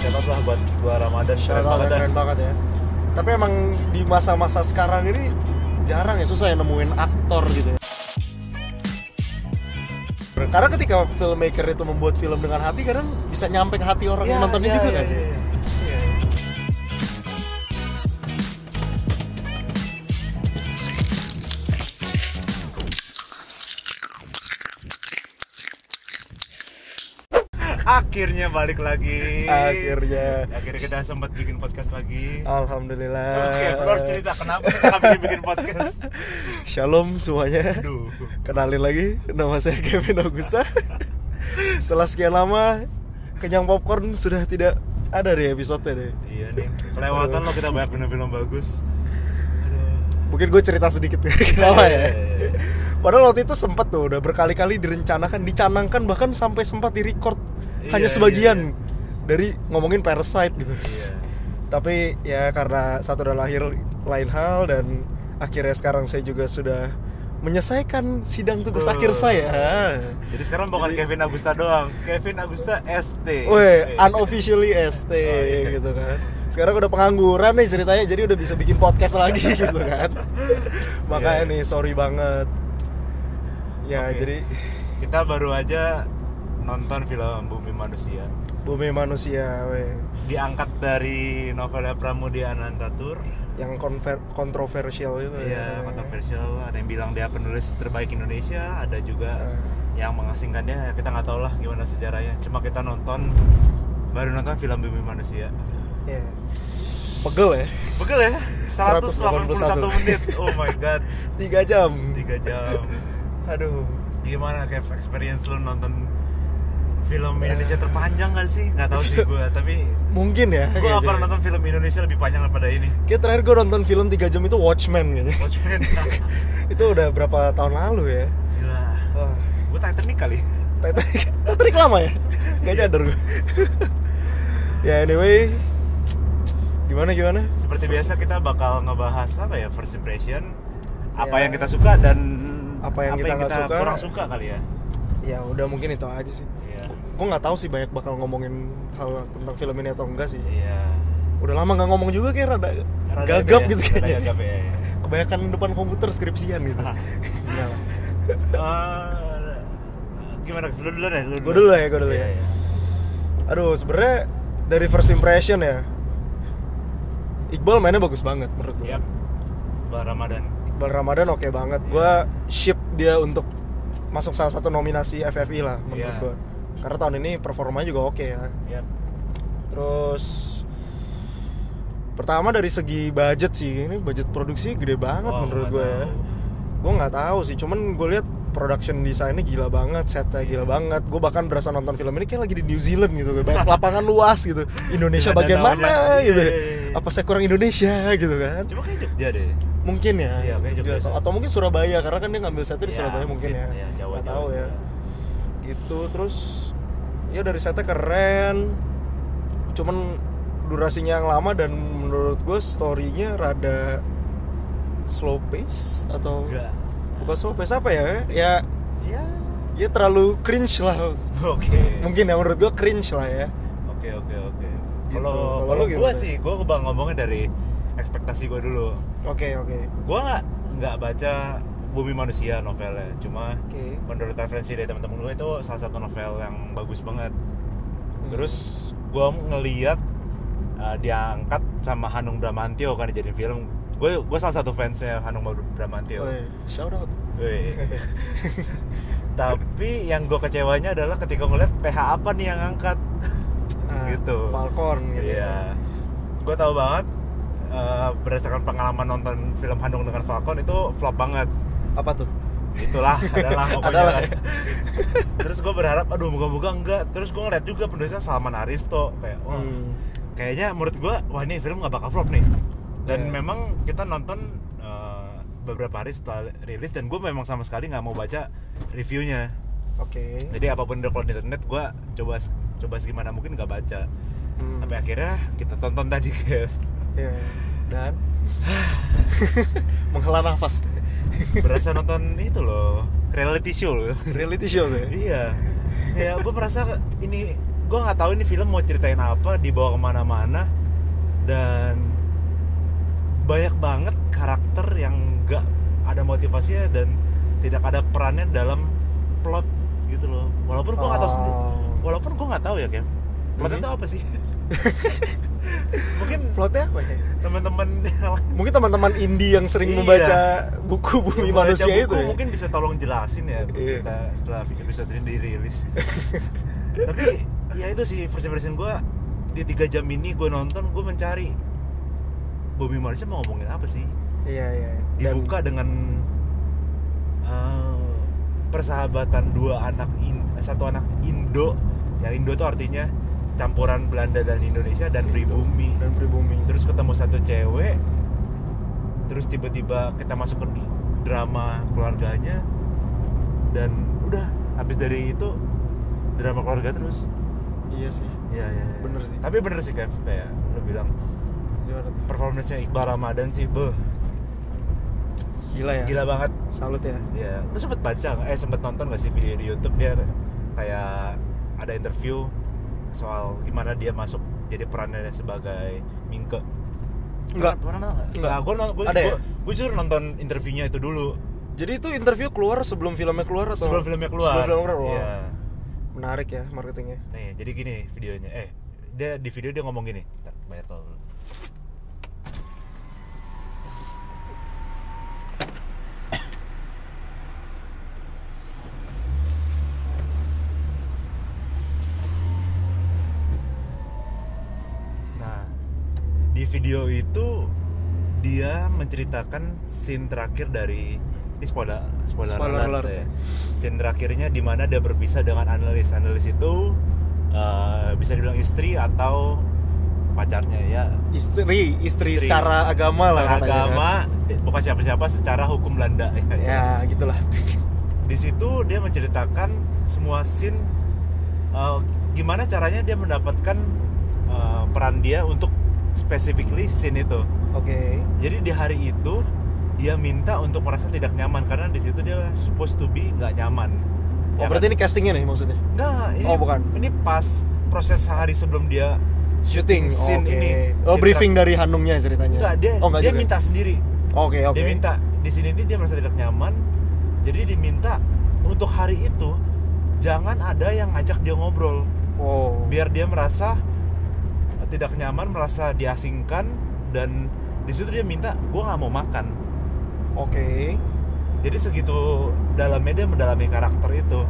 shout out lah buat dua Ramadan Shout keren out, banget eh. dah. keren banget ya. Tapi emang di masa-masa sekarang ini jarang ya susah ya nemuin aktor gitu ya. Karena ketika filmmaker itu membuat film dengan hati kadang bisa nyampe ke hati orang yang Iya, nontonnya iya, juga iya, nggak sih? iya, iya. Akhirnya balik lagi. Akhirnya. Eh. Akhirnya kita sempat bikin podcast lagi. Alhamdulillah. Oke, bro harus cerita kenapa kita bikin bikin podcast. Shalom semuanya. Aduh. Kenalin lagi, nama saya Kevin Augusta. Setelah sekian lama, kenyang popcorn sudah tidak ada di episode deh. Iya nih, kelewatan lo kita banyak film-film bagus. Mungkin gue cerita sedikit ya, kenapa ya. Padahal waktu itu sempat tuh, udah berkali-kali direncanakan, dicanangkan bahkan sampai sempat direcord hanya Iya, sebagian dari ngomongin Parasite gitu. Iya. Tapi ya karena satu dan lahir lain hal dan akhirnya sekarang saya juga sudah menyelesaikan sidang tugas Tuh. akhir saya. Jadi sekarang bukan Kevin Agusta doang, Kevin Agusta ST. Weh, unofficially ST iya. gitu kan. Sekarang udah pengangguran nih ceritanya, jadi udah bisa bikin podcast lagi gitu kan. Makanya Iya. nih sorry banget. Ya Oke. jadi Kita baru aja nonton film Bumi Manusia. bumi manusia, weh Diangkat dari novelnya Pramudi Anantatur. yang konver- kontroversial itu. ya. Iya, kontroversial. Ada yang bilang dia penulis terbaik Indonesia, ada juga yang mengasingkannya. Kita nggak tahu lah gimana sejarahnya. Cuma kita nonton baru nonton film Bumi Manusia. Iya. Pegel ya, Pegel ya? 181, 181. menit. Oh my god. tiga jam. 3 jam. Aduh, Gimana Kev experience lu nonton film Eh. Indonesia terpanjang gak sih? Gak tahu sih gue, tapi mungkin ya. gue kayaknya. gak pernah nonton film Indonesia lebih panjang daripada ini. Kayak terakhir gue nonton film tiga jam itu Watchmen kayaknya. Watchmen. itu udah berapa tahun lalu ya? Gila. Wah. Gue Titanic kali. Titanic Titanic lama ya? Gak nyadar gue Ya anyway Gimana gimana? Seperti biasa kita bakal ngebahas apa ya first impression, apa Ya. yang kita suka dan Apa yang kita nggak suka. kurang suka kali ya. Ya udah mungkin itu aja sih Iya. Gue gak tahu sih banyak bakal ngomongin hal tentang film ini atau enggak sih Iya. Udah lama gak ngomong juga kayak rada, Rada gagap ya, gitu rada kayaknya Gagap ya. ya. Kebanyakan depan komputer skripsian gitu Ah, iya. Enggak lah. Eh, gimana? Lu dulu deh, lu Ah. Gua dulu ya, gua dulu Iya, ya. iya. Aduh sebenernya dari first impression ya Iqbal mainnya bagus banget menurut gue Yap. Bulan Ramadan. Iqbal Ramadan oke banget. Iya. Gua ship dia untuk masuk salah satu nominasi FFI lah menurut Iya. gua. Karena tahun ini performanya juga oke ya. Yap. Terus pertama dari segi budget sih, ini budget produksi gede banget Wah, menurut nggak gua ya. tahu. Gua nggak tahu sih, cuman gue lihat production desainnya gila banget, Iya. setnya gila banget. Gue bahkan berasa nonton film ini kayak lagi di New Zealand gitu, banyak lapangan luas gitu. Indonesia Gila, bagian danaunya. mana gitu. Iya. Apa saya kurang Indonesia gitu kan? Cuma kayak Jogja deh. mungkin ya, Iya, kayaknya Jogja atau, sih. atau mungkin Surabaya karena kan dia ngambil setnya di Iya, Surabaya mungkin, mungkin. ya Iya, Jawa, nggak Jawa tahu ya juga. gitu terus ya dari setnya keren cuman durasinya yang lama dan menurut gue storynya rada slow pace atau Enggak. bukan slow pace apa ya ya Ya. ya terlalu cringe lah Oke. mungkin ya menurut gue cringe lah ya Oke oke oke. Gitu. Kalau Kalau kalau lu gue gimana? sih, gue bang ngomongnya dari ekspektasi gue dulu. oke oke Gue nggak nggak baca Bumi Manusia novelnya, cuma oke menurut referensi dari teman-teman gue itu salah satu novel yang bagus banget. Hmm. Terus gue ngeliat uh, diangkat sama Hanung Bramantio kan dijadiin film. Gue gue salah satu fansnya Hanung Bramantio. Woi, shout out Wih. Tapi yang gue kecewanya adalah ketika ngeliat PH apa nih yang angkat. Ah, Gitu. Falcon gitu ya. Iya. Gue tahu banget eh, berdasarkan pengalaman nonton film Handung dengan Falcon itu flop banget. apa tuh Itulah adalah pokoknya. Adalah, kan. Terus gue berharap aduh moga-moga enggak. Terus gue ngeliat juga penulisnya Salman Aristo kayak wah, Hmm. kayaknya menurut gue wah ini film nggak bakal flop nih. Dan Iya. memang kita nonton eh, beberapa hari setelah rilis dan gue memang sama sekali nggak mau baca reviewnya oke jadi apapun yang keluar di internet gue coba coba gimana mungkin nggak baca Hmm. sampai akhirnya kita tonton tadi Kev Iya. Dan menghela nafas. berasa nonton itu loh reality show loh Reality show tuh. ya? iya kayak gue merasa ini gue gue nggak tahu ini film mau ceritain apa dibawa kemana-mana dan banyak banget karakter yang nggak ada motivasinya dan tidak ada perannya dalam plot gitu loh walaupun gue nggak tahu sendi- Oh. walaupun gue nggak tahu ya Kev plotnya Mhm. itu apa sih mungkin plotnya apa ya? teman-teman yang Mungkin teman-teman indie yang sering Iya. membaca Iya, buku Yang bumi manusia baca itu. buku ya? mungkin bisa tolong jelasin ya untuk Iya. kita setelah episode ini dirilis tapi ya itu sih first impression gue di tiga jam ini gue nonton gue mencari bumi manusia mau ngomongin apa sih Iya iya. Dan dibuka dengan eh, persahabatan dua anak in- satu anak Indo yang Indo itu artinya campuran Belanda dan Indonesia dan pribumi dan pribumi. terus ketemu satu cewek terus tiba-tiba kita masuk ke drama keluarganya dan udah habis dari itu drama keluarga terus Iya sih. iya iya iya. Bener sih. tapi bener sih Kev kayak lo bilang Gimana tuh? performance-nya Iqbal Ramadan sih beuh, Gila ya. gila banget Salut ya. ya lu sempet baca nggak? eh sempet nonton gak sih video di YouTube dia kayak ada interview soal gimana dia masuk jadi perannya sebagai Mingke pernah Enggak. pernah nggak? Enggak. Nah, gue gue Ada ya? gue jujur nonton interviewnya itu dulu Jadi itu interview keluar sebelum filmnya keluar atau sebelum filmnya keluar. Sebelum filmnya keluar. Wah, Iya. Menarik ya marketingnya. Nih, jadi gini videonya. Eh, dia di video dia ngomong gini. Bentar, bayar tol dulu. Nah, di video itu dia menceritakan scene terakhir dari ini spoiler spoiler, Spoiler alert ya. ya. Scene terakhirnya di mana dia berpisah dengan analis. Analis itu eh, bisa dibilang istri atau pacarnya ya. Istri, istri, Istri. secara agama lah Secara katanya. ya. agama eh, bukan siapa-siapa secara hukum Belanda kan. Ya, gitulah. di situ dia menceritakan semua scene uh, gimana caranya dia mendapatkan uh, peran dia untuk specifically scene itu. Oke. Jadi di hari itu dia minta untuk merasa tidak nyaman karena di situ dia supposed to be nggak nyaman. Ya, Oh, kan? berarti ini castingnya nih maksudnya. enggak, ini, Oh, bukan. Ini pas proses sehari sebelum dia Shooting. Scene oke. ini. Oh, Scene briefing dari Hanumnya ceritanya. enggak dia oh, enggak dia juga. minta sendiri. Oke, oke. Dia minta di sini ini dia merasa tidak nyaman. Jadi diminta untuk hari itu jangan ada yang ngajak dia ngobrol. Oh. biar dia merasa tidak nyaman, merasa diasingkan dan di situ dia minta gue nggak mau makan. Oke. Jadi segitu dalamnya dia mendalami karakter itu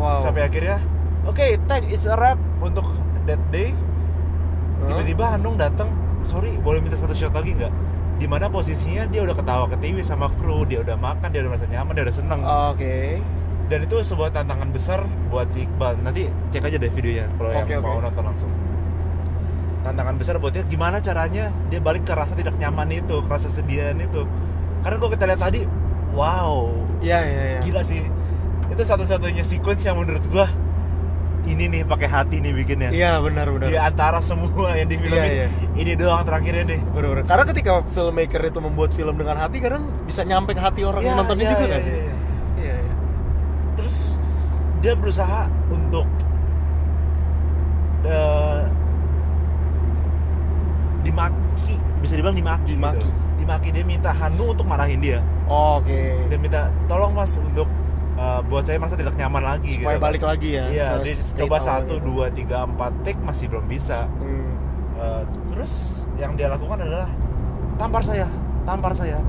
Wow. sampai akhirnya oke tag is a wrap untuk that day. Hah? Tiba-tiba Hanung datang, sorry boleh minta satu shot lagi nggak? Dimana posisinya dia udah ketawa ketiwi sama kru, dia udah makan, dia udah merasa nyaman, dia udah seneng. Oke. Dan itu sebuah tantangan besar buat si Iqbal. Nanti cek aja deh videonya kalau Oke, yang oke. mau nonton langsung. Tantangan besar buat dia gimana caranya dia balik ke rasa tidak nyaman itu, ke rasa sedian itu. Karena gua kita lihat tadi, wow, Iya, iya, iya. gila sih. Itu satu-satunya sequence yang menurut gua ini nih pakai hati nih bikinnya. Iya, benar, benar. Di antara semua yang di film Iya, iya. ini doang terakhirnya nih. Bener, bener. Karena ketika filmmaker itu membuat film dengan hati, kadang bisa nyampe ke hati orang Iya, yang nontonnya iya, juga iya, nggak sih? iya, iya. Iya, iya. terus dia berusaha untuk eh, dimaki bisa dibilang dimaki gitu. Dimaki. dimaki dia minta Hanu untuk marahin dia Oke. dia minta tolong mas untuk eh, buat saya merasa tidak nyaman lagi Supaya gitu. balik lagi ya. iya ke dia state coba awal satu gitu. dua tiga empat take masih belum bisa Hmm. Eh, terus yang dia lakukan adalah tampar saya tampar saya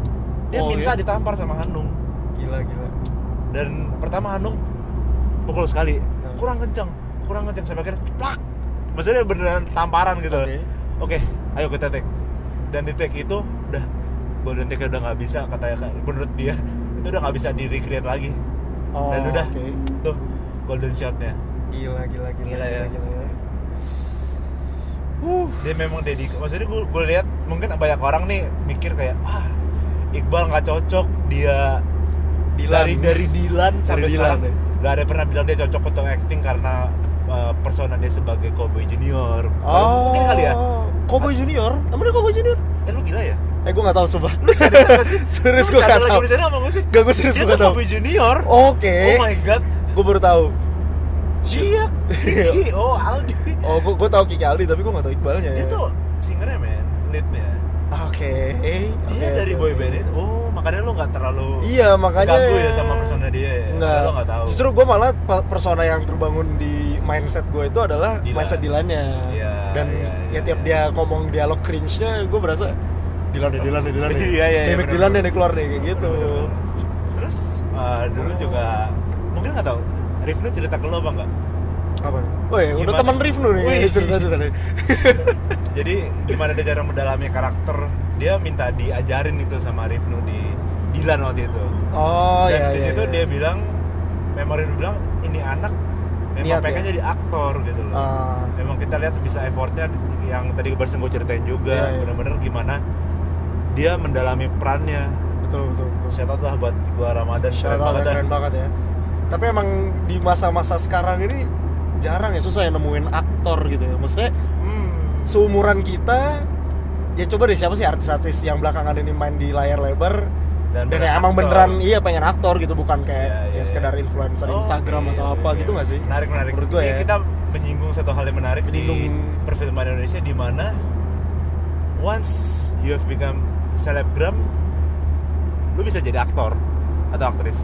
dia Oh, minta iya? ditampar sama Hanung Gila, gila. dan pertama Hanung pukul sekali Hmm. kurang kenceng kurang kenceng sampai akhirnya plak maksudnya beneran tamparan gitu Oke. oke ayo kita take dan di take itu udah golden take udah nggak bisa katanya Kak. menurut dia itu udah nggak bisa di recreate lagi Oh, Dan udah. oke. tuh golden shotnya Gila, gila, gila, Gila gila, ya. gila, ya. Huh. dia memang dedik maksudnya gue gue lihat mungkin banyak orang nih mikir kayak ah Iqbal nggak cocok dia Dilan. dari dari Dilan sampai Dilan, sekarang ya. nggak ada pernah bilang dia cocok untuk acting karena uh, persona dia sebagai cowboy junior Oh. mungkin kali ya Cowboy Junior? Emangnya Cowboy Junior? eh lu gila ya Eh, gue nggak tahu sumpah. lu serius gak sih? Serius Lu gue bercanda lagi nggak tahu. bercanda sama gue sih? Gak, gue serius Dia gue tuh nggak tahu. Kobe Junior. Oke. Oh my god. Gue baru tahu. Oh Iya, Kiki, oh Aldi. Oh, gue gue tau Kiki Aldi tapi gue gak tau Iqbalnya. Dia tuh singernya men, leadnya. Oke. oke, Dia dari oke, boy oke. band itu. Oh, makanya lo nggak terlalu Iya makanya. ganggu ya sama persona dia. Ya? Nggak. Karena Lo nggak tahu. Justru gue malah pe- persona yang terbangun di mindset gue itu adalah Dilan. mindset Dilannya. Iya, Dan iya, iya, ya tiap iya. dia ngomong dialog cringe-nya gue berasa Dilan deh, Dilan deh, Dilan deh. Iya, iya, iya, Mimik bener, Dilan deh bener. nih keluar nih kayak gitu. Terus eh, dulu juga mungkin nggak tahu. Rifnu cerita ke lo apa nggak? Apa? Oh ya, udah Gimana? teman Rifnu nih Wih. cerita cerita nih. Jadi gimana dia cara mendalami karakter? Dia minta diajarin itu sama Rifnu di Dilan waktu itu. Oh Dan iya. di iya, situ iya. dia bilang, memori dia bilang ini anak memang Niat, pengen ya? jadi aktor gitu loh. Ah. memang kita lihat bisa effortnya yang tadi barusan gue ceritain juga Iya, iya. bener-bener gimana dia mendalami perannya betul betul betul. shout out lah buat gua Ramadan Shout keren out banget dah. keren banget ya. Tapi emang di masa-masa sekarang ini jarang ya susah ya nemuin aktor gitu ya. Maksudnya Hmm. seumuran kita ya coba deh siapa sih artis-artis yang belakangan ini main di layar lebar dan, dan bener ya emang aktor. beneran iya pengen aktor gitu bukan Iya, kayak iya, ya sekedar iya. influencer Oh, Instagram iya, atau iya, apa iya. gitu nggak sih? menarik menarik Menurut gua Ini ya. kita menyinggung satu hal yang menarik di Menyinggung. perfilman Indonesia di mana once you have become selebgram lu bisa jadi aktor atau aktris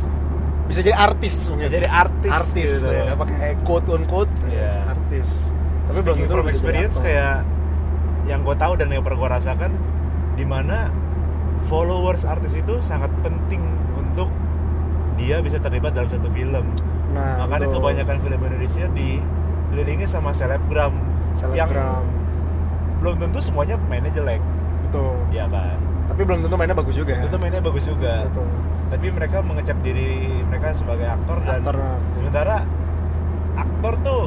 Bisa jadi artis mungkin. jadi artis artis gitu. ya, pakai quote on quote Iya. artis. Tapi belum Speaking tentu from bisa jadi experience aktor. kayak yang gue tahu dan yang pernah gue rasakan di mana followers artis itu sangat penting untuk dia bisa terlibat dalam satu film. nah, Makanya betul. kebanyakan film Indonesia dikelilingi sama selebgram, yang selebgram belum tentu semuanya mainnya jelek, Iya. betul. ya kan? Tapi belum tentu mainnya bagus juga. ya. Tentu mainnya bagus juga, Betul. tapi mereka mengecap diri mereka sebagai aktor dan Aktor. sementara aktor tuh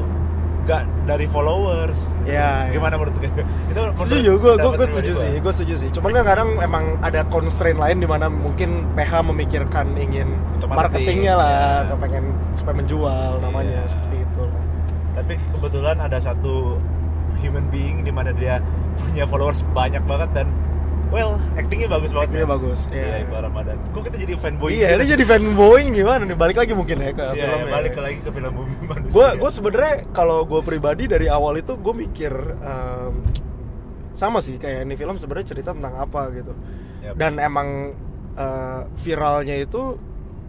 gak dari followers. Ya, ya. Gimana menurut gue? Itu menurut setuju gue gue pendapat setuju pribadi sih iya. gua. gue setuju sih cuman kan kadang emang ada constraint lain di mana mungkin PH memikirkan ingin Untuk marketing, marketingnya lah ya. atau pengen supaya menjual namanya Iya. seperti itu lah tapi kebetulan ada satu human being di mana dia punya followers banyak banget dan well actingnya bagus banget Actingnya bagus, iya iya. Iqbal Ramadan kok kita jadi fanboy iya gitu? ini jadi fanboy gimana nih balik lagi mungkin ya ke Iya, film iya, balik lagi ke film bumi manusia Iya, gue gue sebenarnya kalau gue pribadi dari awal itu gue mikir em, sama sih kayak ini film sebenarnya cerita tentang apa gitu Yap. dan emang eh, viralnya itu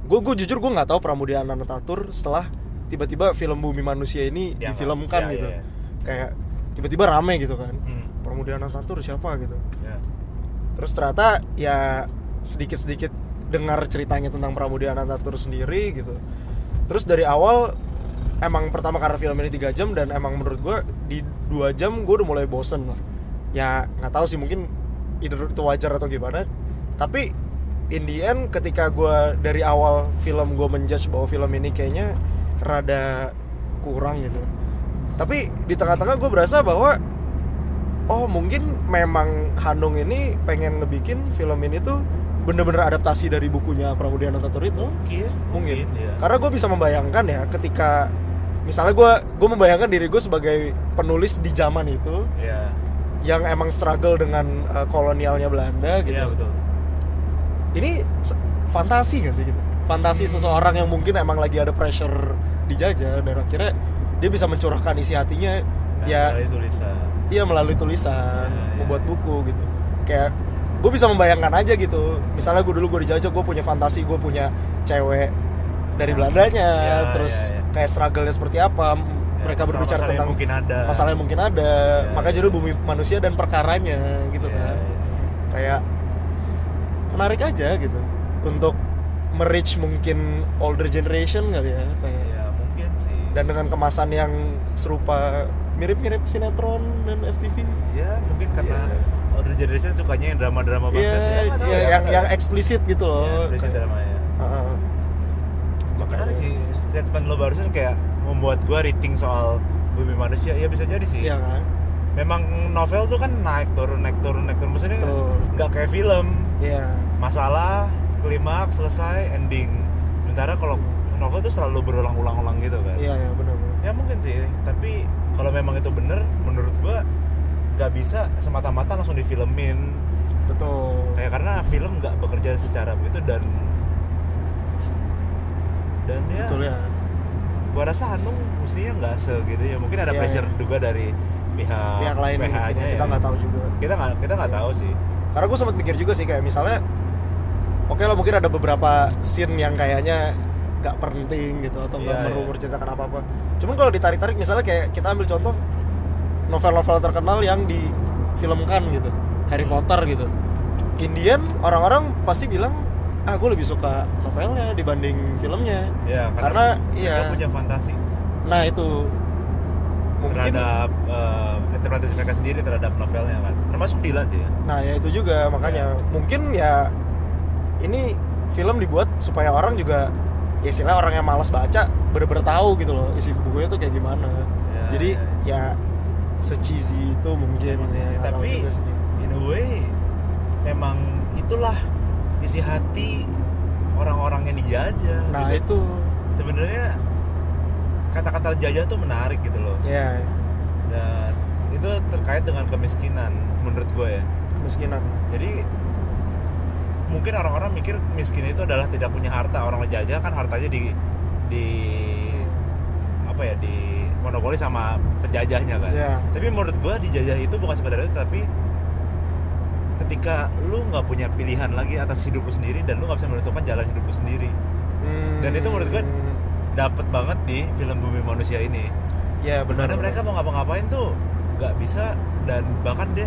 gue gue jujur gue nggak tahu Pramudia Anantatur setelah tiba-tiba film Bumi Manusia ini Diangkat. difilmkan Iya, gitu iya, iya. kayak tiba-tiba rame gitu kan Hmm, Pramudia Anantatur siapa gitu ya. terus ternyata ya sedikit-sedikit dengar ceritanya tentang Pramudia Anantatur sendiri gitu terus dari awal emang pertama karena film ini tiga jam dan emang menurut gue di dua jam gue udah mulai bosen lah ya nggak tahu sih mungkin either itu wajar atau gimana tapi in the end ketika gue dari awal film gue menjudge bahwa film ini kayaknya rada kurang gitu tapi di tengah-tengah gue berasa bahwa oh mungkin memang Hanung ini pengen ngebikin film ini tuh bener-bener adaptasi dari bukunya Pramudia Anantatur itu mungkin mungkin, ya. karena gue bisa membayangkan ya ketika misalnya gue gue membayangkan diri gue sebagai penulis di zaman itu Iya. yang emang struggle dengan uh, kolonialnya Belanda gitu Iya, betul ini se- fantasi gak sih gitu fantasi Hmm. seseorang yang mungkin emang lagi ada pressure dijajah dan akhirnya dia bisa mencurahkan isi hatinya Nah, ya dari tulisan Iya melalui tulisan, Ya, ya. membuat buku gitu. Kayak gue bisa membayangkan aja gitu. Misalnya gue dulu gue dijajah, gue punya fantasi, gue punya cewek dari Belandanya, Ya, terus ya, ya. kayak struggle-nya seperti Ya, apa. masalah-masalah mereka berbicara yang tentang mungkin ada masalah yang mungkin ada. Ya, Makanya ya. jadi bumi manusia dan perkaranya gitu Iya, kan. iya. Kayak menarik aja gitu untuk merich mungkin older generation kali ya kayak Iya, mungkin sih dan dengan kemasan yang serupa mirip-mirip sinetron dan FTV ya mungkin karena Iya. older generation sukanya yang drama-drama banget Iya, iya, yang yang eksplisit gitu loh. ya, eksplisit dramanya Heeh. Makanya. Menarik sih statement lo barusan kayak membuat gua rethink soal bumi manusia ya bisa jadi sih Iya kan? memang novel tuh kan naik turun naik turun naik turun maksudnya Betul. nggak kayak film Iya. masalah klimaks selesai ending sementara kalau novel tuh selalu berulang-ulang-ulang gitu kan Iya, iya benar benar. ya mungkin sih tapi kalau memang itu bener menurut gua nggak bisa semata-mata langsung difilmin Betul. kayak karena film nggak bekerja secara begitu dan dan ya Betul ya. gua rasa Hanung mestinya nggak segitu ya mungkin ada Iya, pressure iya. juga dari pihak pihak lain PH nya mungkin ya, kita nggak tahu juga kita nggak kita nggak Iya. tahu sih karena gue sempat mikir juga sih kayak misalnya oke lah mungkin ada beberapa scene yang kayaknya gak penting gitu atau nggak Iya, perlu iya. menceritakan apa apa cuman kalau ditarik-tarik misalnya kayak kita ambil contoh novel-novel terkenal yang difilmkan gitu Harry Hmm. Potter gitu Indian orang-orang pasti bilang ah gue lebih suka novelnya dibanding filmnya ya Karena, iya. mereka punya fantasi nah itu mungkin terhadap eh, interpretasi mereka sendiri terhadap novelnya kan termasuk Dylan sih ya Nah ya itu juga makanya mungkin ya ini film dibuat supaya orang juga ya istilahnya orang yang malas baca bener-bener tahu gitu loh isi bukunya tuh kayak gimana. Ya, Jadi ya, ya se-cheesy itu mungkin Maksudnya, ya, nggak tahu tapi juga sih. in a way memang itulah isi hati orang-orang yang dijajah Nah gitu. itu sebenarnya kata-kata jajah tuh menarik gitu loh ya dan itu terkait dengan kemiskinan menurut gue ya kemiskinan. jadi mungkin orang-orang mikir miskin itu adalah tidak punya harta orang jajah kan hartanya di di apa ya di monopoli sama penjajahnya kan Ya tapi menurut gua dijajah itu bukan sekedar itu tapi ketika lu nggak punya pilihan lagi atas hidup lu sendiri dan lu nggak bisa menentukan jalan hidup lu sendiri Hmm, Dan itu menurut gue- dapat banget di film bumi manusia ini ya benar. karena mereka mau ngapa-ngapain tuh nggak bisa dan bahkan dia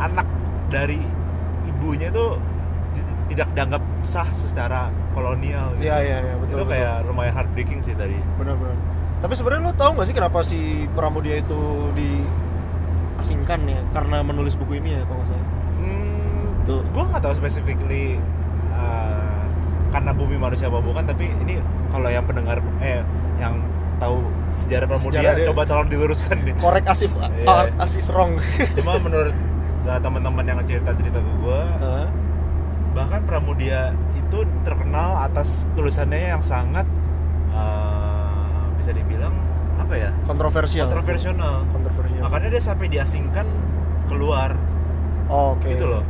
anak dari ibunya tuh di- tidak dianggap sah secara kolonial gitu. Iya iya ya, betul. itu betul. kayak lumayan heartbreaking sih tadi benar-benar. Tapi sebenarnya lo tahu nggak sih kenapa si Pramudia itu diasingkan ya? Karena menulis buku ini ya kalau nggak salah. Hmm, Tuh. gue nggak tahu specifically uh, karena bumi manusia apa bukan, tapi ini kalau yang pendengar eh yang tahu sejarah Sejarah Pramudia dia- coba tolong diluruskan nih. korek asif Iya. ah, asis wrong Cuma menurut uh, teman-teman yang cerita cerita ke gue, bahkan Pramudia itu terkenal atas tulisannya yang sangat uh, bisa dibilang apa ya kontroversial kontroversial. kontroversial Makanya dia sampai diasingkan keluar oh, oke gitu loh.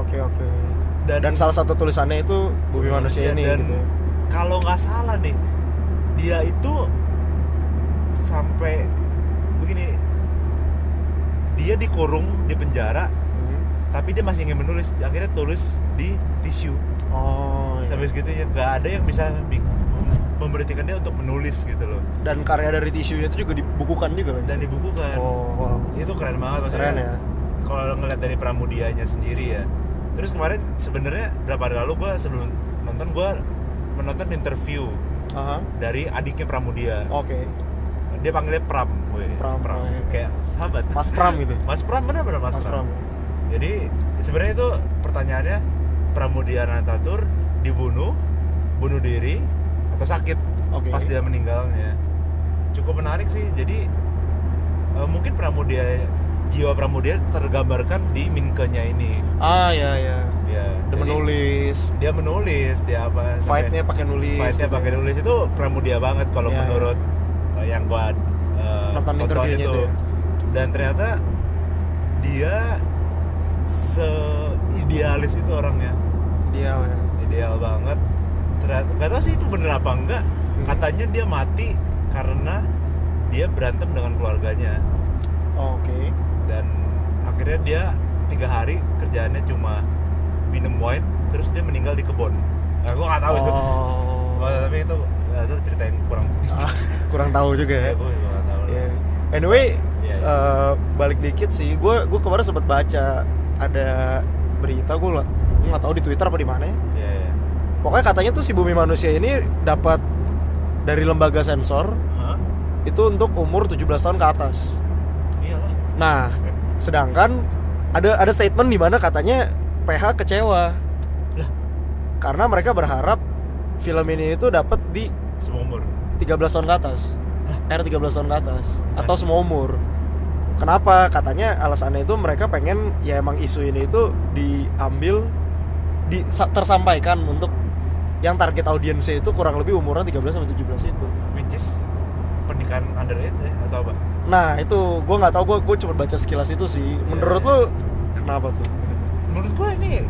oke oke dan salah satu tulisannya itu bumi manusia ini Iya, Dan- Hmm. gitu ya. kalau nggak salah nih dia itu sampai begini dia dikurung di penjara tapi dia masih ingin menulis akhirnya tulis di tisu oh iya. sampai segitunya nggak ada yang bisa bi- memberhentikan dia untuk menulis gitu loh dan karya dari tisu itu juga dibukukan juga lagi dan dibukukan oh wow. itu keren banget maksudnya keren ya kalau ngeliat dari pramudianya sendiri ya terus kemarin sebenarnya berapa hari lalu gua sebelum nonton gua menonton interview Aha. dari adiknya pramudia oke dia panggilnya Pram, gue. Pram, iya. kayak sahabat. mas pram gitu Mas Pram bener bener Mas, mas Pram. pram Jadi sebenarnya itu pertanyaannya Pramudia Natatur dibunuh, bunuh diri atau sakit oke pas dia meninggalnya. Cukup menarik sih. Jadi eh, mungkin Pramudia jiwa Pramudia tergambarkan di minkenya ini. ah ya ya Ya, dia jadi menulis Dia menulis, dia apa? sampai- fightnya pakai nulis fightnya gitu pakai ya. nulis itu pramudia banget kalau Iya, menurut uh, yang gua uh, Nonton tonton interviewnya itu ya. dan ternyata dia seidealis itu orangnya ideal ya ideal banget ternyata nggak tahu sih itu bener apa enggak Hmm. katanya dia mati karena dia berantem dengan keluarganya Oh, oke dan akhirnya dia tiga hari kerjaannya cuma minum wine terus dia meninggal di kebun nah, gua nggak tahu itu Wah, oh. tapi itu ya, itu ceritain kurang Ah, kurang tahu juga ya Ya, gua juga nggak tahu. Ya. Anyway, Ya, ya. eh, balik dikit sih. Gue gue kemarin sempat baca ada berita gue nggak tahu di Twitter apa di mana. ya. Ya, ya. Pokoknya katanya tuh si Bumi Manusia ini dapat dari lembaga sensor Hah? itu untuk umur 17 tahun ke atas. Iyalah. Nah, sedangkan ada ada statement di mana katanya PH kecewa Lah. karena mereka berharap film ini itu dapat di Semua umur. 13 tahun ke atas R 13 tahun ke atas atau semua umur kenapa katanya alasannya itu mereka pengen ya emang isu ini itu diambil di sa- tersampaikan untuk yang target audiensnya itu kurang lebih umurnya 13 sampai 17 itu Which is pernikahan underage ya atau apa? nah itu gue nggak tahu gue gue cuma baca sekilas itu sih menurut Iya, lu kenapa tuh Menurut gua ini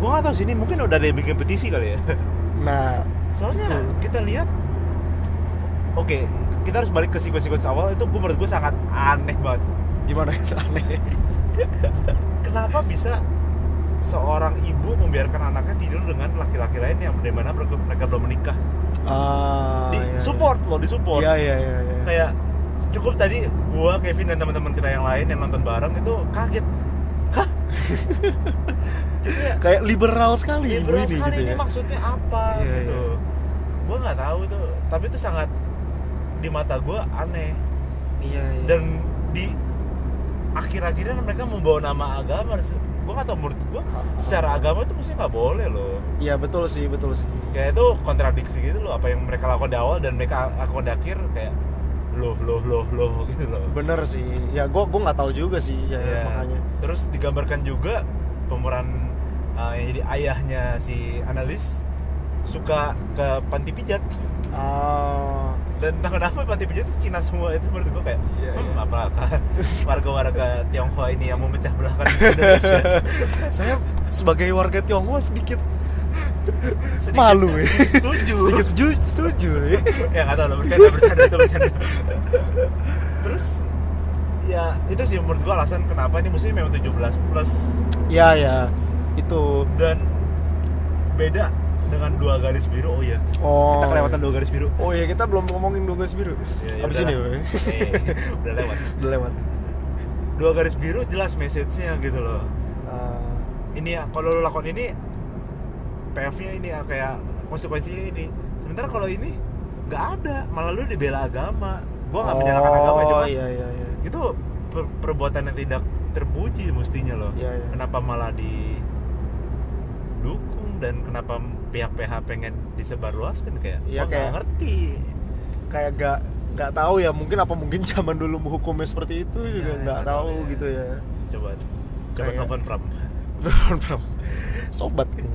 gua nggak tahu sih ini mungkin udah ada yang bikin petisi kali ya. nah Soalnya Betul. kita lihat oke kita harus balik ke sequence-sequence awal itu gue menurut gue sangat aneh banget gimana itu aneh kenapa bisa seorang ibu membiarkan anaknya tidur dengan laki-laki lain yang dari mana mereka mereka belum menikah ah di iya, iya. support loh di support iya iya iya iya. kayak cukup tadi gua Kevin dan teman-teman kita yang lain yang nonton bareng itu kaget kayak liberal sekali ya, ibu berat ini sekali gitu ini ya maksudnya apa Iya, gitu iya. gua nggak tahu itu tapi itu sangat di mata gua aneh iya iya dan di akhir-akhirnya mereka membawa nama agama gue gak tau menurut gue secara agama itu mesti nggak boleh loh iya betul sih betul sih kayak itu kontradiksi gitu loh apa yang mereka lakukan di awal dan mereka lakukan di akhir kayak loh loh loh loh gitu loh bener sih ya gue gue nggak tahu juga sih ya, ya, Iya. makanya terus digambarkan juga pemeran uh, yang jadi ayahnya si analis suka ke panti pijat ah dan kenapa panti pijat itu Cina semua itu menurut gue kayak Iya, hmm, iya. apakah warga-warga Tionghoa ini yang memecah belahkan Indonesia saya sebagai warga Tionghoa sedikit Sedikit- malu ya setuju sedikit setuju setuju ya. ya nggak tahu lah bercanda bercanda itu bercanda terus ya itu sih menurut gua alasan kenapa ini musim memang 17 plus ya ya itu dan beda dengan dua garis biru oh iya oh kita kelewatan dua garis biru oh ya kita belum ngomongin dua garis biru Ya, ya abis ini udahlah. weh. Eh, udah lewat udah lewat dua garis biru jelas message-nya gitu loh Ah, ini ya kalau lo lakukan ini PF-nya ini ya kayak konsekuensinya ini sementara kalau ini nggak ada malah lu dibela agama gua nggak menyalahkan agama oh, cuma iya iya iya itu per- perbuatan yang tidak terpuji mestinya loh Iya, iya. kenapa malah didukung dan kenapa pihak-pihak pengen disebarluaskan kayak gua Iya, nggak kayak- ngerti kayak gak nggak tahu ya mungkin apa mungkin zaman dulu hukumnya seperti itu Iya, juga iya, nggak nggak tahu tahu ya. gitu ya coba coba Kayak- telepon Pram Bram, Bram. sobat kayaknya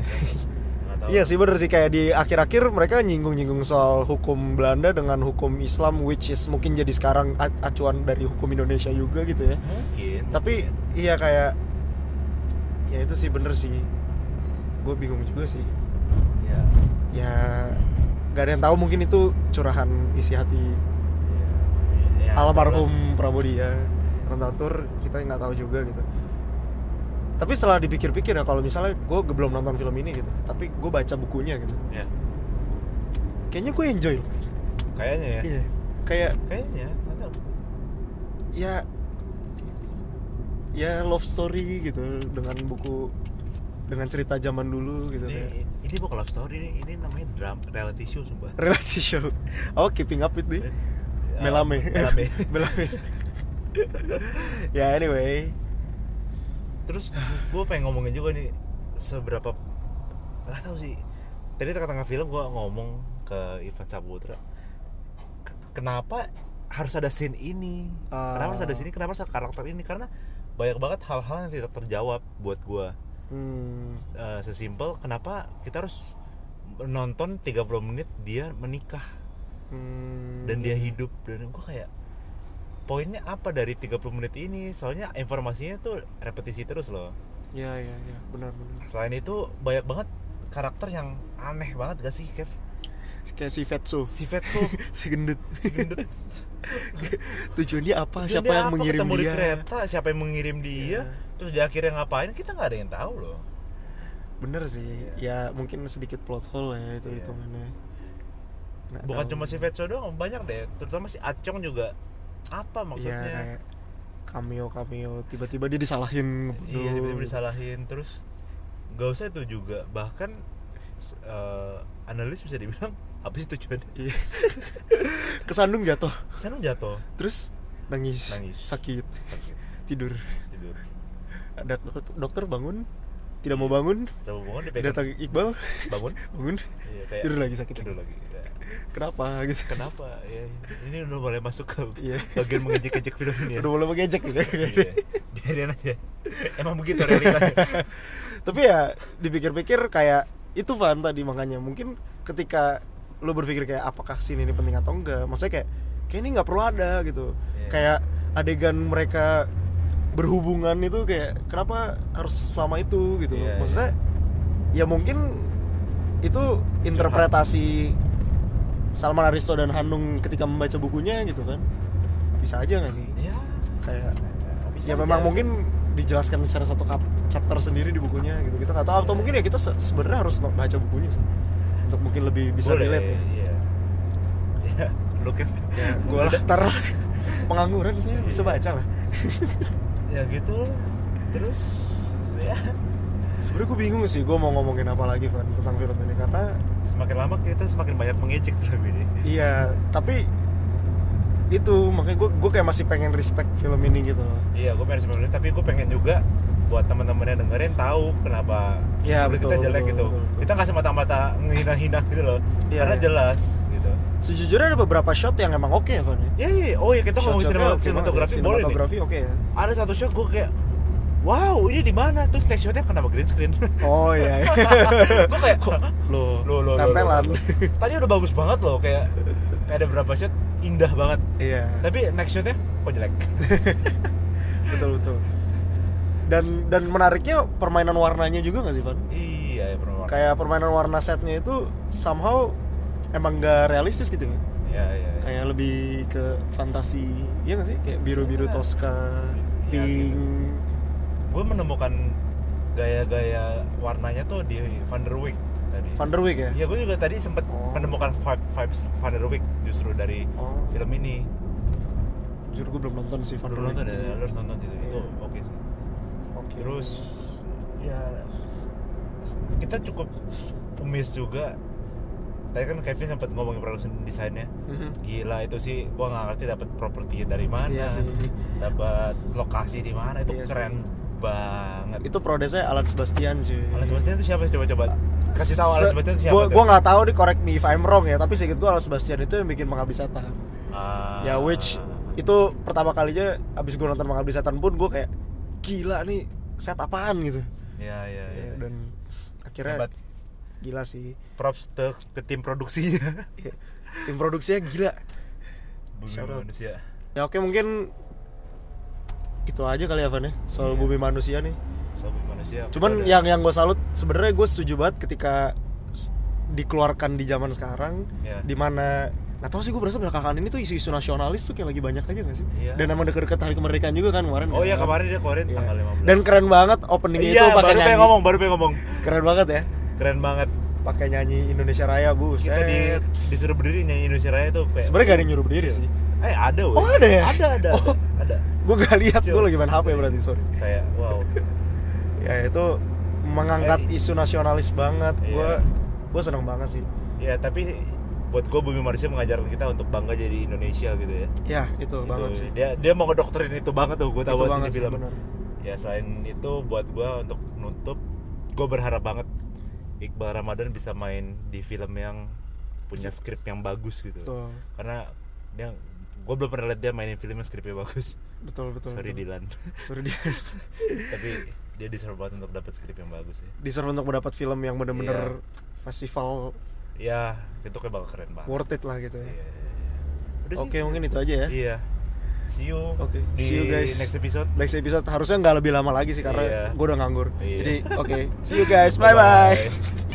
Nggak tahu. Iya sih bener sih kayak di akhir-akhir mereka nyinggung-nyinggung soal hukum Belanda dengan hukum Islam which is mungkin jadi sekarang a- acuan dari hukum Indonesia juga gitu ya. mungkin Tapi iya kayak ya itu sih bener sih. Gue bingung juga sih. ya, Ya gak ada yang tahu mungkin itu curahan isi hati ya, ya, almarhum Prabodia Rantatur kita nggak tahu juga gitu. Tapi setelah dipikir-pikir ya kalau misalnya gue belum nonton film ini gitu, tapi gue baca bukunya gitu, ya, kayaknya gue enjoy. loh. kayaknya ya Iya. Kayak kayaknya nggak tahu. ya ya love story gitu dengan buku dengan cerita zaman dulu gitu ini, kayak ini bukan love story ini, ini namanya drama reality show sumpah relasi show oh keeping up with the Eh, melame melame melame ya anyway terus gue pengen ngomongin juga nih seberapa nggak tahu sih tadi tengah-tengah film gue ngomong ke Ivan Saputra "K- kenapa harus ada scene ini Ah. kenapa harus ada scene ini kenapa harus ada karakter ini karena banyak banget hal-hal yang tidak terjawab buat gue hmm, Eh, sesimpel kenapa kita harus nonton 30 menit dia menikah hmm, dan dia hidup dan gue kayak poinnya apa dari 30 menit ini soalnya informasinya tuh repetisi terus loh ya ya ya benar benar selain itu banyak banget karakter yang aneh banget gak sih Kev kayak si Fatso si Vetsu si gendut si gendut tujuannya apa Tujuan dia siapa yang apa? mengirim Ketemu di dia kereta siapa yang mengirim dia Iya. terus di akhirnya ngapain kita nggak ada yang tahu loh bener sih ya mungkin sedikit plot hole ya itu Iya. hitungannya Nggak bukan tahu. cuma si Vetsu doang banyak deh terutama si Acong juga apa Iya maksudnya kayak cameo cameo tiba-tiba dia disalahin ngebunuh. iya tiba-tiba disalahin terus gak usah itu juga bahkan s- eh, analis bisa dibilang apa sih tujuannya Iya. Kesandung jatuh, Senung jatuh terus nangis, Nangis. sakit, sakit tidur. tidur Ada dok- dokter bangun, tidak mau bangun, Coba bangun dipegang datang Iqbal bangun bangun, iya, kayak tidur lagi sakit. tidur lagi ya. Kenapa gitu? kenapa ya ini udah mulai masuk ke Iya. bagian mengejek-ejek film ini ya Udah mulai mengejek gitu. Iya. biarin aja emang begitu ya? realitanya Tapi ya dipikir-pikir kayak itu Van tadi makanya mungkin ketika lo berpikir kayak apakah scene ini penting atau enggak maksudnya kayak kayak ini nggak perlu ada gitu Iya. kayak adegan mereka berhubungan itu kayak kenapa harus selama itu gitu Iya, maksudnya ya mungkin itu interpretasi Salman Aristo dan Hanung ketika membaca bukunya gitu kan bisa aja nggak sih ya kayak bisa ya aja. memang mungkin dijelaskan secara satu kap- chapter sendiri di bukunya gitu kita nggak tahu atau mungkin ya kita se- sebenarnya harus baca bukunya sih untuk mungkin lebih bisa Boleh, relate ya iya ya lu Kev. gue lah ntar pengangguran saya bisa Iya. baca lah ya gitu terus ya sebenarnya gue bingung sih gue mau ngomongin apa lagi kan tentang film ini karena semakin lama kita semakin banyak mengecek film ini iya tapi itu makanya gue gue kayak masih pengen respect film ini gitu loh iya gue pengen sebenarnya tapi gue pengen juga buat teman-teman yang dengerin tahu kenapa Iya, menurut kita betul, jelek betul, gitu betul, betul. kita nggak semata-mata ngehina-hina gitu loh Iya, karena iya. jelas gitu sejujurnya ada beberapa shot yang emang oke ya Van ya ya iya oh ya kita ngomongin Shot-shotnya sinema- oke banget sinematografi ya. boleh nih sinematografi oke ya ada satu shot gue kayak wow ini di mana terus next shotnya kenapa green screen oh iya gue kayak lo lo lo tempelan tadi udah bagus banget loh kayak kayak ada beberapa shot indah banget iya tapi next shotnya kok jelek betul betul dan dan menariknya permainan warnanya juga nggak sih Van iya ya bener kayak permainan warna setnya itu somehow emang nggak realistis gitu ya ya ya ya. kayak lebih ke fantasi ya nggak sih kayak biru-biru Ya. Tosca Ya, pink gitu. gue menemukan gaya-gaya warnanya tuh di Van der Wijk tadi Van der Wijk ya ya gue juga tadi sempet Oh. menemukan vibe vibes Van der Wijk justru dari oh film ini jujur gue belum nonton sih Van der lu Wijk nonton ya, jadi- lu harus nonton gitu itu Iya. oke sih oke terus ya kita cukup miss juga tadi kan Kevin sempat ngomongin production desainnya Mhm. gila itu sih gua nggak ngerti dapat properti dari mana Iya sih. dapat lokasi di mana itu Iya sih. keren banget itu prodesnya Alan Sebastian cuy Alan Sebastian itu siapa coba-coba kasih tahu Alan Se- Sebastian itu siapa Gua tuh? gua nggak tahu di correct me if I'm wrong ya, tapi sedikit gua Alan Sebastian itu yang bikin Mengabdi Setan. Ah. Ya which itu pertama kalinya abis gua nonton Mengabdi Setan pun gua kayak gila nih set apaan gitu. ya ya, ya. Ya, dan akhirnya Hebat. gila sih. props te- ke tim produksinya Ya, Tim produksinya gila. bumi Shout out. manusia Ya oke mungkin itu aja kali ya Van ya soal Iya. bumi manusia nih. so bumi manusia Cuman Udah. yang yang gue salut sebenarnya gue setuju banget ketika s- dikeluarkan di zaman sekarang Iya. di mana nggak tahu sih gue berasa belakangan ini tuh isu-isu nasionalis tuh kayak lagi banyak aja gak sih Iya. dan emang deket-deket hari kemerdekaan juga kan kemarin oh kan? iya kemarin dia keluarin Iya. tanggal 15 dan keren banget openingnya iya itu pakai baru pengen nyanyi ngomong baru pengen ngomong keren banget ya keren banget pakai nyanyi Indonesia Raya bu kita di, disuruh berdiri nyanyi Indonesia Raya tuh kayak sebenarnya gak ada yang nyuruh berdiri sih eh ada woy. Oh, Iya. ada ya? ada ada Oh. ada, ada. gue gak lihat gue Cus. lagi main HP berarti sorry kayak wow ya itu mengangkat Eh. isu nasionalis banget gue Iya. gue seneng banget sih ya tapi buat gue bumi manusia mengajarkan kita untuk bangga jadi Indonesia gitu ya ya itu, Gitu. banget sih dia dia mau ngedoktrin itu banget tuh gue Itu tahu banget banget di sih, film bener. ya selain itu buat gue untuk nutup gue berharap banget Iqbal Ramadan bisa main di film yang punya skrip yang bagus gitu Betul. karena dia gue belum pernah lihat dia mainin film yang skripnya bagus betul betul sorry betul. Dilan sorry dia tapi dia deserve banget untuk dapat skrip yang bagus ya deserve untuk mendapat film yang Iya. bener-bener festival ya itu kayak bakal keren banget worth it lah gitu ya. Iya, iya, iya. Udah sih. Oke, mungkin itu aja ya. Iya. See you. Oke, di see you guys. next episode. Next episode harusnya nggak lebih lama lagi sih karena Iya. gue udah nganggur. Iya. Jadi oke, see you guys, bye bye. Bye-bye.